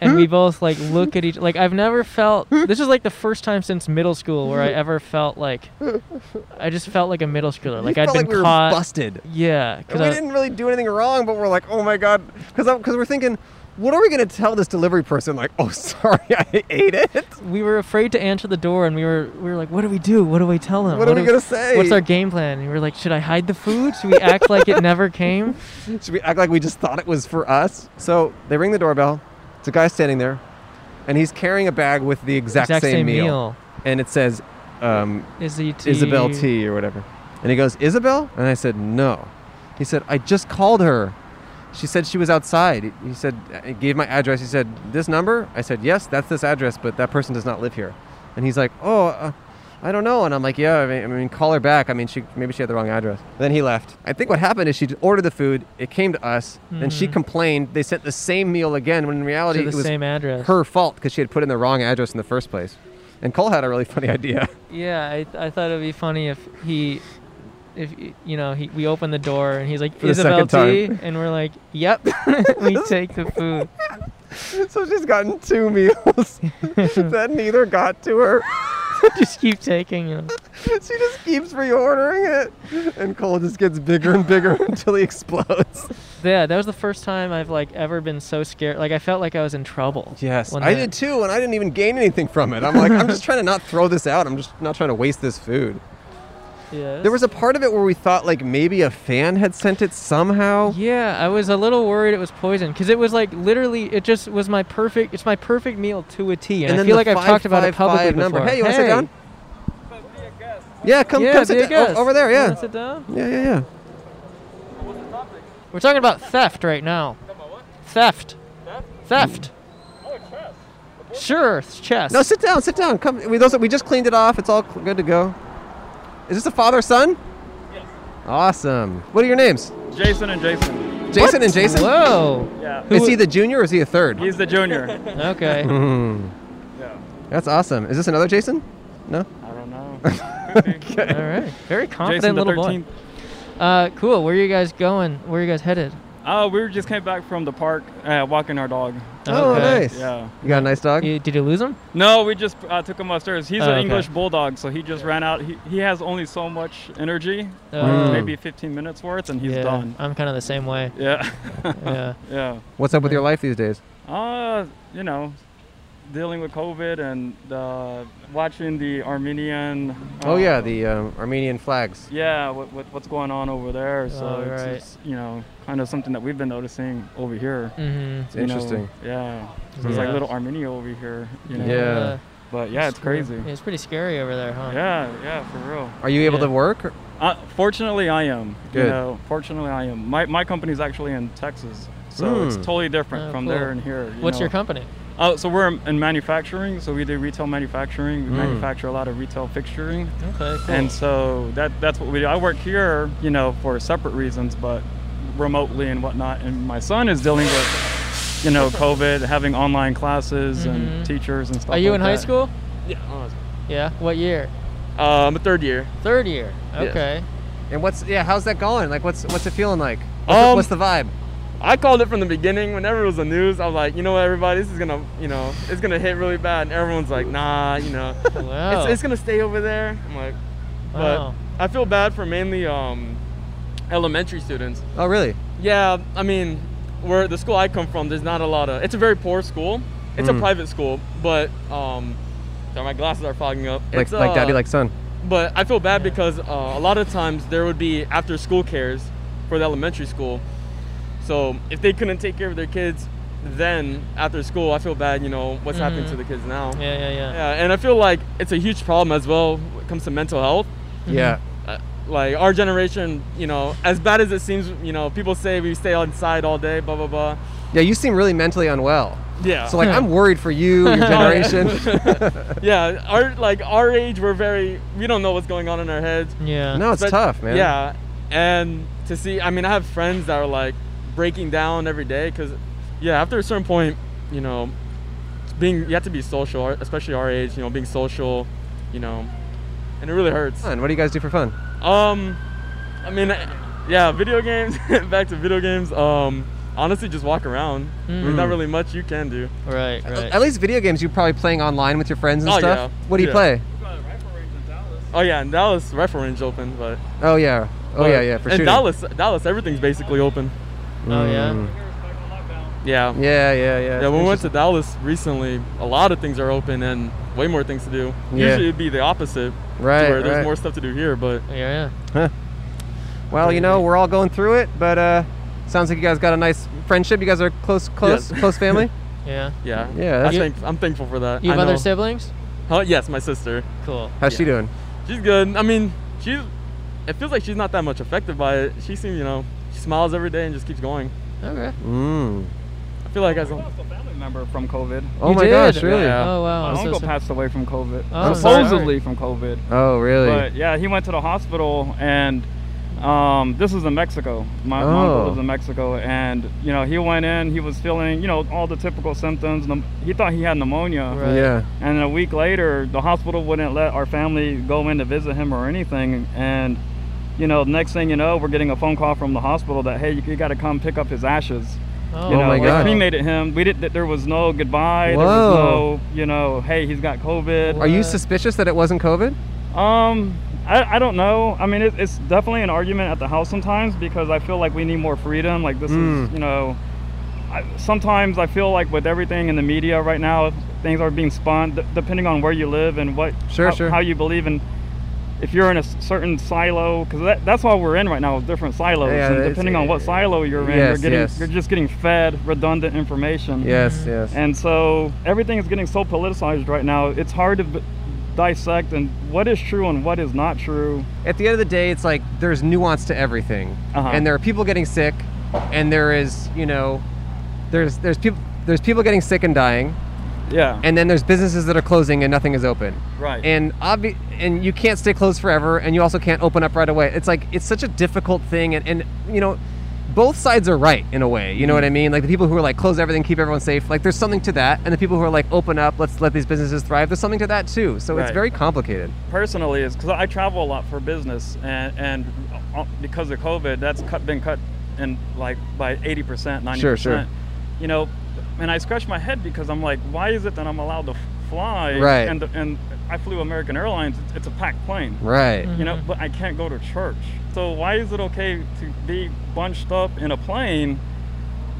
and we both like look at each. Like I've never felt. This is like the first time since middle school where I ever felt like. I just felt like a middle schooler. Like you I'd felt been like we caught. were busted. Yeah, And because we I, didn't really do anything wrong, but we're like, oh my god, because we're thinking, what are we gonna tell this delivery person? Like, oh sorry, I ate it. we were afraid to answer the door, and we were we were like, "What do we do? What do we tell them? What are we do gonna say?" What's our game plan?" And we were like, "Should I hide the food? Should we act like it never came?" Should we act like we just thought it was for us? So they ring the doorbell. It's a guy standing there, and he's carrying a bag with the exact, Exact same meal. meal. and it says, um, Is he T? Isabel T or whatever. And he goes, Isabel? And I said, no. He said, I just called her. She said she was outside. He- He said, I gave my address. He said, this number? I said, yes, that's this address, but that person does not live here. And he's like, oh, uh, I don't know. And I'm like, yeah, I mean, I mean, call her back. I mean, she maybe she had the wrong address. Then he left. I think what happened is she ordered the food. It came to us. Then she complained. They sent the same meal again when in reality Hmm. To it the was same address. her fault because she had put in the wrong address in the first place. And Cole had a really funny idea. Yeah, I, I thought it'd be funny if he, if y- you know, he we open the door and he's like the Isabel T, second time. and we're like, yep, we take the food. So she's gotten two meals that neither got to her. Just keep taking them. She just keeps reordering it. And Cole just gets bigger and bigger until he explodes. Yeah, that was the first time I've like ever been so scared. Like I felt like I was in trouble. Yes, when I the- did too, and I didn't even gain anything from it. I'm like, I'm just trying to not throw this out. I'm just not trying to waste this food. Yeah, There was a part of it where we thought like maybe a fan had sent it somehow. Yeah, I was a little worried it was poison because it was like literally, it just was my perfect. It's my perfect meal to a T, and, I feel like I've talked about it publicly 555 number. before. Hey, you want to sit down? Yeah, come, yeah, come be a sit down. guest. O- Over there, You yeah. wanna sit down? Yeah, yeah, yeah. We're talking about theft right now. Theft. Theft. Sure, it's chess. No, sit down, sit down. Come, we, those, we just cleaned it off. It's all cl- good to go. Is this a father son? Yes. Awesome. What are your names? Jason and Jason. Jason and Jason. Whoa. Yeah. Is he the junior or is he a third? He's the junior. Okay. That's awesome. Is this another Jason? No. I don't know. All right. Very confident Jason the little boy. 13th. Uh, cool. Where are you guys going? Where are you guys headed? Oh, we were just came back from the park uh, walking our dog. Oh, Okay. nice. Yeah. You got a nice dog. You- did you lose him? No, we just uh, took him upstairs. He's Oh, an okay. English bulldog, so he just ran out. He, he has only so much energy, Mm. Uh, maybe 15 minutes worth, and he's yeah, done. I'm kind of the same way. Yeah. Yeah. yeah. What's up with your life these days? Uh, you know, dealing with COVID and uh, watching the Armenian. Oh uh, yeah, the um, Armenian flags. Yeah, what, what, what's going on over there? So Oh, it's, right. it's, you know kind of something that we've been noticing over here. Mm-hmm. It's you know. interesting. yeah, there's like Yeah. little Armenia over here. You know. Yeah. Uh, But yeah, it's crazy. It's pretty scary over there, huh? Yeah, yeah, for real. Are you able Yeah. to work? or- Uh, fortunately, I am. Good. You know, fortunately, I am. My my company's actually in Texas, so it's Mm. totally different Oh, from cool. there and here. you What's your know. company? Oh, so we're in manufacturing. So we do retail manufacturing. We Mm. manufacture a lot of retail fixturing. Okay, cool. And so that that's what we do. I work here, you know, for separate reasons, but remotely and whatnot. And my son is dealing with, you know, COVID, having online classes Mhm. and teachers and stuff. Are you like in high that. school? Yeah, uh, Yeah. What year? Um, I'm a third year. Third year. Yes. Okay. And what's yeah? How's that going? Like, what's what's it feeling like? What's, the, Um, what's the vibe? I called it from the beginning. Whenever it was the news, I was like, you know what, everybody, this is gonna, you know, it's gonna hit really bad. And everyone's like, nah, you know, Oh. Wow. it's, it's gonna stay over there. I'm like, but Wow. I feel bad for mainly um, elementary students. Oh, really? Yeah, I mean, where the school I come from, there's not a lot of. It's a very poor school. It's Mm. a private school, but um, sorry, my glasses are fogging up. Like It's, like daddy uh, like son. But I feel bad because uh, a lot of times there would be after school cares for the elementary school. So if they couldn't take care of their kids then after school, I feel bad, you know, what's happening Mhm. to the kids now. yeah, yeah, yeah. Yeah, and I feel like it's a huge problem as well when it comes to mental health. Yeah. Uh, like our generation, you know, as bad as it seems, you know, people say we stay inside all day, blah, blah, blah. Yeah. You seem really mentally unwell. Yeah. Oh, So like, I'm worried for you, your generation. yeah, our like our age, we're very we don't know what's going on in our heads. Yeah. no, it's But- tough, man. Yeah, and to see, I mean, I have friends that are like breaking down every day because, yeah, after a certain point, you know, it's being you have to be social, our- especially our age, you know, being social, you know, and it really hurts. Fun. What do you guys do for fun? Um, I mean, yeah, video games. back to video games. Um, honestly, just walk around. There's not Mm. really much you can do. Right, right. At least video games. You're probably playing online with your friends and Oh, stuff. yeah. What do you Yeah. play? Oh yeah, and Dallas rifle range open, but Oh yeah. Oh but- yeah, yeah, for and sure. Dallas, Dallas, everything's basically open. oh yeah. Yeah. Mm. Yeah, yeah, yeah. Yeah, when we went to Dallas recently, a lot of things are open and way more things to do. Yeah. Usually it'd be the opposite, Right, where there's right. more stuff to do here. But Yeah, yeah. Well, you know, we're all going through it, but uh, sounds like you guys got a nice friendship. You guys are close, close, Yes. close family. Yeah. yeah, Yeah, I that's- think I'm thankful for that. You I have know. other siblings? Huh? Yes, my sister. Cool. How's she doing? She's good. I mean, she's. It feels like she's not that much affected by it. She seems, you know, she smiles every day and just keeps going. Okay. Mm. I feel like as I a, lost a family member from COVID. Oh You my did? gosh, really? Yeah. Oh wow. My I'm so uncle sorry. passed away from COVID. Oh, I'm sorry. supposedly from COVID. Oh really? But yeah, he went to the hospital, and um, this was in Mexico. My, my Oh. uncle lives in Mexico, and you know he went in. He was feeling, you know, all the typical symptoms. pneum- He thought he had pneumonia, Right. Yeah. and then a week later, the hospital wouldn't let our family go in to visit him or anything. And you know, next thing you know, we're getting a phone call from the hospital that hey, you, you got to come pick up his ashes. Oh, You know, my like, God. cremated him. We didn't. There was no goodbye. Whoa. There was no, you know, hey, he's got COVID. Are you What? suspicious that it wasn't COVID? Um, I, I don't know. I mean, it, it's definitely an argument at the house sometimes because I feel like we need more freedom. Like this Mm. is, you know, I, sometimes I feel like with everything in the media right now, things are being spun d- depending on where you live and what Sure, how, sure. how you believe in. If you're in a s- certain silo, because that, that's all we're in right now, is different silos. Yeah, and it's- depending on what silo you're in, Yes, you're getting yes. you're just getting fed redundant information. Yes, yes. And so everything is getting so politicized right now. It's hard to b- dissect and what is true and what is not true. At the end of the day, it's like there's nuance to everything, Uh-huh. and there are people getting sick, and there is, you know, there's there's people there's people getting sick and dying, Yeah. and then there's businesses that are closing and nothing is open. right. and obvi- and you can't stay closed forever and you also can't open up right away it's like it's such a difficult thing and, and you know both sides are right in a way you know Mm-hmm. what i mean like the people who are like close everything keep everyone safe like there's something to that and the people who are like open up let's let these businesses thrive there's something to that too so it's Right. very complicated Personally, is because I travel a lot for business, and and uh, because of COVID, that's cut been cut in like by 80 percent, 90 Sure, percent. sure. You know, and I scratch my head because I'm like, why is it that I'm allowed to f- fly? Right. And and I flew American Airlines. It's, it's a packed plane. right you know but i can't go to church so why is it okay to be bunched up in a plane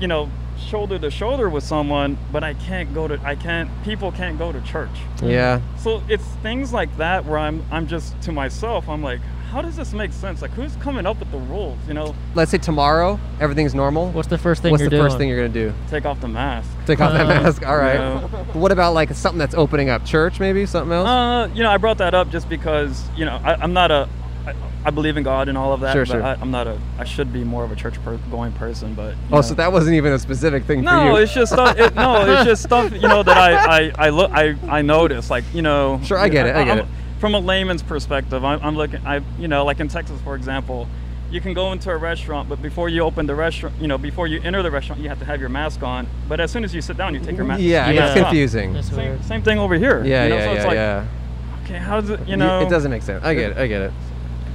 you know shoulder to shoulder with someone but i can't go to i can't people can't go to church yeah so it's things like that where i'm i'm just to myself i'm like how does this make sense? Like, who's coming up with the rules? You know, Let's say tomorrow everything's normal. What's the first thing What's you're the first doing? thing you're gonna do? take off the mask. Take off that Uh, mask. All right. no. But what about like something that's opening up? Church, maybe something else. Uh, you know, I brought that up just because you know I, I'm not a. I, I believe in God and all of that, Sure, but sure. I, I'm not a. I should be more of a church per- going person, but you oh, know. so that wasn't even a specific thing for you. No, it's just stuff. It, no, it's just stuff. You know that I I I look I I notice like you know. Sure, I get it, I get I'm- it. From a layman's perspective, I'm, I'm looking. I you know like in Texas for example, you can go into a restaurant, but before you open the restaurant, you know before you enter the restaurant, you have to have your mask on. But as soon as you sit down, you take your mask. your Yeah, it's mask off. confusing. That's Same, weird. same thing over here. Yeah, you know? yeah, so it's yeah, like, yeah. Okay, how does it? You You- know, it doesn't make sense. I get it. I get it.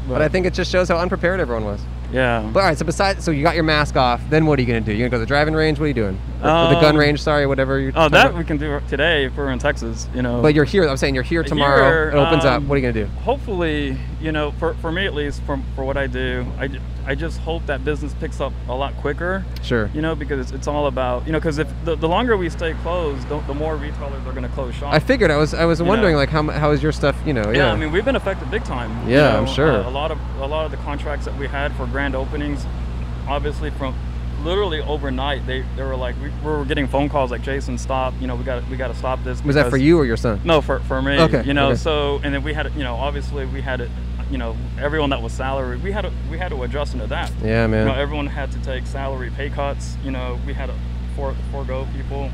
But, I think it just shows how unprepared everyone was. Yeah. But all right, so besides, so you got your mask off. Then what are you gonna do? You're gonna go to the driving range. What are you doing? Or- or the gun Um, range. Sorry, whatever. You're Oh, talking that about. we can do today if we're in Texas. You know. But you're here. I'm saying you're here tomorrow. Here, it opens up. um, What are you gonna do? Hopefully, you know, for, for me at least, for, for what I do, I, ju- I just hope that business picks up a lot quicker. Sure. You know, because it's, it's all about, you know, because if the, the longer we stay closed, the, the more retailers are going to close shops. I figured. I was. I was You know? wondering like how m- how is your stuff? You know. yeah. Yeah. I mean, we've been affected big time. uh, Yeah, I'm sure. A, a lot of a lot of the contracts that we had for grand openings, obviously from literally overnight, they, they were like, we, we were getting phone calls like, Jason, stop. You know, we got we got to stop this. was that for because- you or your son? no, for, for me. Okay, You know, okay. so and then we had, you know, obviously we had it, you know, everyone that was salary, we had to, we had to adjust into that. Yeah, man. You know, everyone had to take salary pay cuts. You know, we had to for, forego people.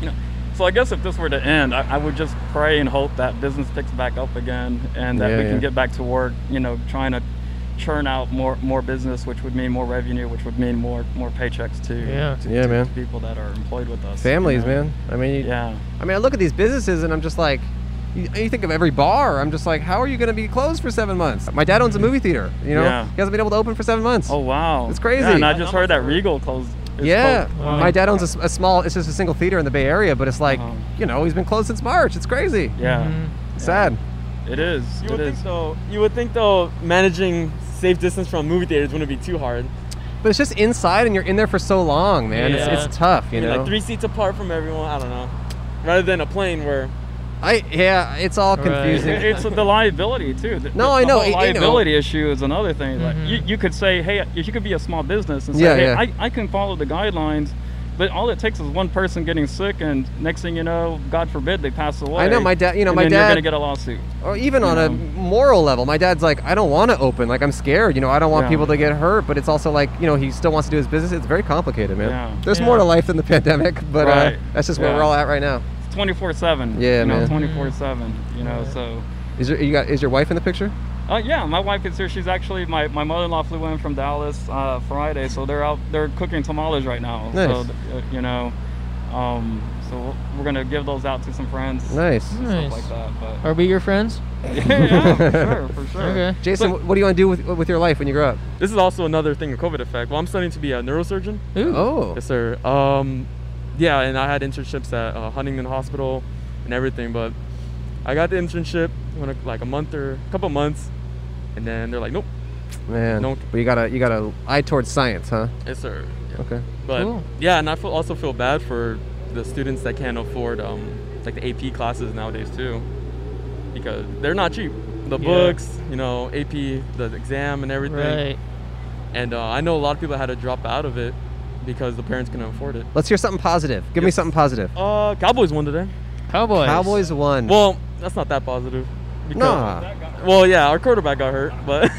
You know, so I guess if this were to end, I, I would just pray and hope that business picks back up again and that Yeah, we yeah. can get back to work. You know, trying to churn out more more business, which would mean more revenue, which would mean more more paychecks to Yeah. to, Yeah, to man. people that are employed with us. you Families, know? man. I mean. You, Yeah. I mean, I look at these businesses and I'm just like, you, you think of every bar. I'm just like, how are you going to be closed for seven months? My dad owns a movie theater. You know, Yeah. he hasn't been able to open for seven months. Oh wow, It's crazy. Yeah, and I just heard that Regal closed. is Yeah. closed. my dad owns a s- a, small. It's just a single theater in the Bay Area, but it's like, Uh-huh. you know, he's been closed since March. It's crazy. Yeah. Sad. It is. Mm-hmm. You would think though. You would think though, managing safe distance from movie theaters wouldn't be too hard. But it's just inside, and you're in there for so long, man. It's, it's tough, you I mean, know. Like three seats apart from everyone. I don't know. Rather than a plane where. I yeah, it's all confusing. It- It's the liability too. The, No, the- I the know, whole it- you know. liability issue is another thing. Mm-hmm. Like you, you could say, hey, you could be a small business and say, Yeah, hey, yeah. I, I can follow the guidelines, but all it takes is one person getting sick, and next thing you know, God forbid, they pass away. I know, my dad- you know, and my then you're dad- gonna get a lawsuit. or even you on a know? moral level my dad's like i don't want to open like i'm scared you know i don't want Yeah. people to get hurt but it's also like you know he still wants to do his business it's very complicated man Yeah. there's Yeah. more to life than the pandemic but uh, Right. that's just where we're Yeah. all at right now It's 24/7. Yeah, you know, man. Mm-hmm. 24/7. You know, so. is your you got is your wife in the picture Uh, yeah, my wife is here. She's actually my, my mother-in-law flew in from Dallas uh, Friday, so they're out they're cooking tamales right now. So Nice. th- uh, you know, um, so we're gonna give those out to some friends. Nice. and Stuff like that. But Are we your friends? yeah, for sure, for sure. Okay. jason wh- what do you want to do with, with your life when you grow up This is also another thing, a COVID effect. Well, I'm studying to be a neurosurgeon. Ooh. oh Yes, sir. Um, yeah, and I had internships at uh, Huntington Hospital and everything, but I got the internship when it- like a month or a couple months, and then they're like, nope. man Don't- but you got a you got a eye towards science huh Yes, sir. Yeah. okay But Cool. yeah, and I feel, also feel bad for the students that can't afford um, like the AP classes nowadays too, because they're not cheap. The Yeah. books, you know, AP, the exam, and everything. Right. And uh, I know a lot of people had to drop out of it because the parents couldn't afford it. let's hear something positive give me something positive Uh, Cowboys won today. Cowboys. cowboys won Well, that's not that positive. nah Well, yeah, our quarterback got hurt, but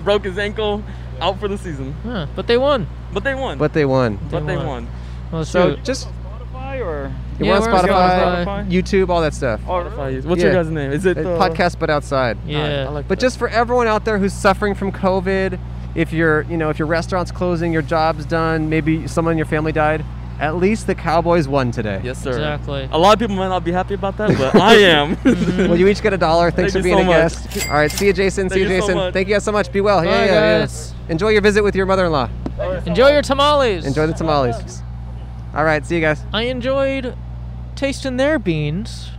broke his ankle, out for the season. Oh. Huh, but they won. But they won. but they won But they they won. won. Well, so shoot. just Spotify or you Yeah, want we're on spotify, Spotify. youtube all that stuff Spotify. What's your Yeah. guys' name? Is it Uh, uh, podcast but outside yeah. I like But just for everyone out there who's suffering from COVID, if your you know if your restaurant's closing, your job's done, maybe someone in your family died, at least the Cowboys won today. yes, sir. exactly. A lot of people might not be happy about that, but I am. Well, you each get a dollar. Thanks Thank for you being so a much. guest. All right, see you, Jason. see Thank you, you so Jason. much. Thank you guys so much. Be well. Bye, yeah, yeah, guys. yeah. Enjoy your visit with your mother-in-law. Enjoy your tamales. Enjoy the tamales. All right, see you guys. I enjoyed tasting their beans.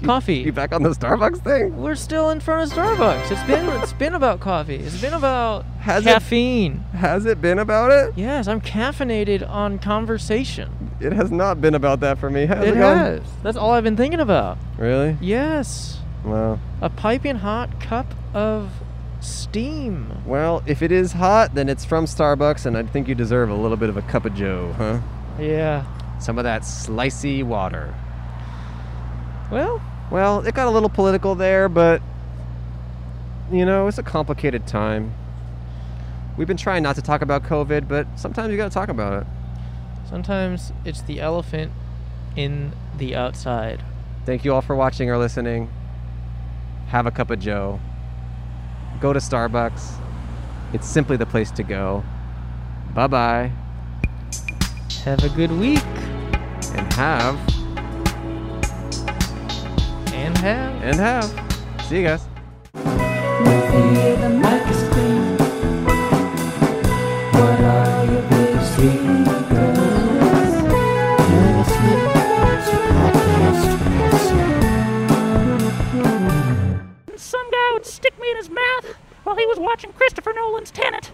You coffee. back on the Starbucks thing? We're still in front of Starbucks. It's been it's been about coffee. It's been about Has it- caffeine. Has it been about it? Yes, I'm caffeinated on conversation. It has not been about that for me. How's it going? has. That's all I've been thinking about. Really? Yes. Well, A piping hot cup of steam. well, if it is hot, then it's from Starbucks, and I think you deserve a little bit of a cup of Joe, huh? Yeah. Some of that slicey water. Well, Well, it got a little political there, but you know, it's a complicated time. We've been trying not to talk about COVID, but sometimes you got to talk about it. sometimes it's the elephant in the outside. Thank you all for watching or listening. Have a cup of Joe. Go to Starbucks. It's simply the place to go. Bye bye, Have a good week and have, and have. and have. See you guys. Fear the mic is clean. What are your biggest dreams? You're listening to Podcast Master. Some guy would stick me in his mouth while he was watching Christopher Nolan's Tenet.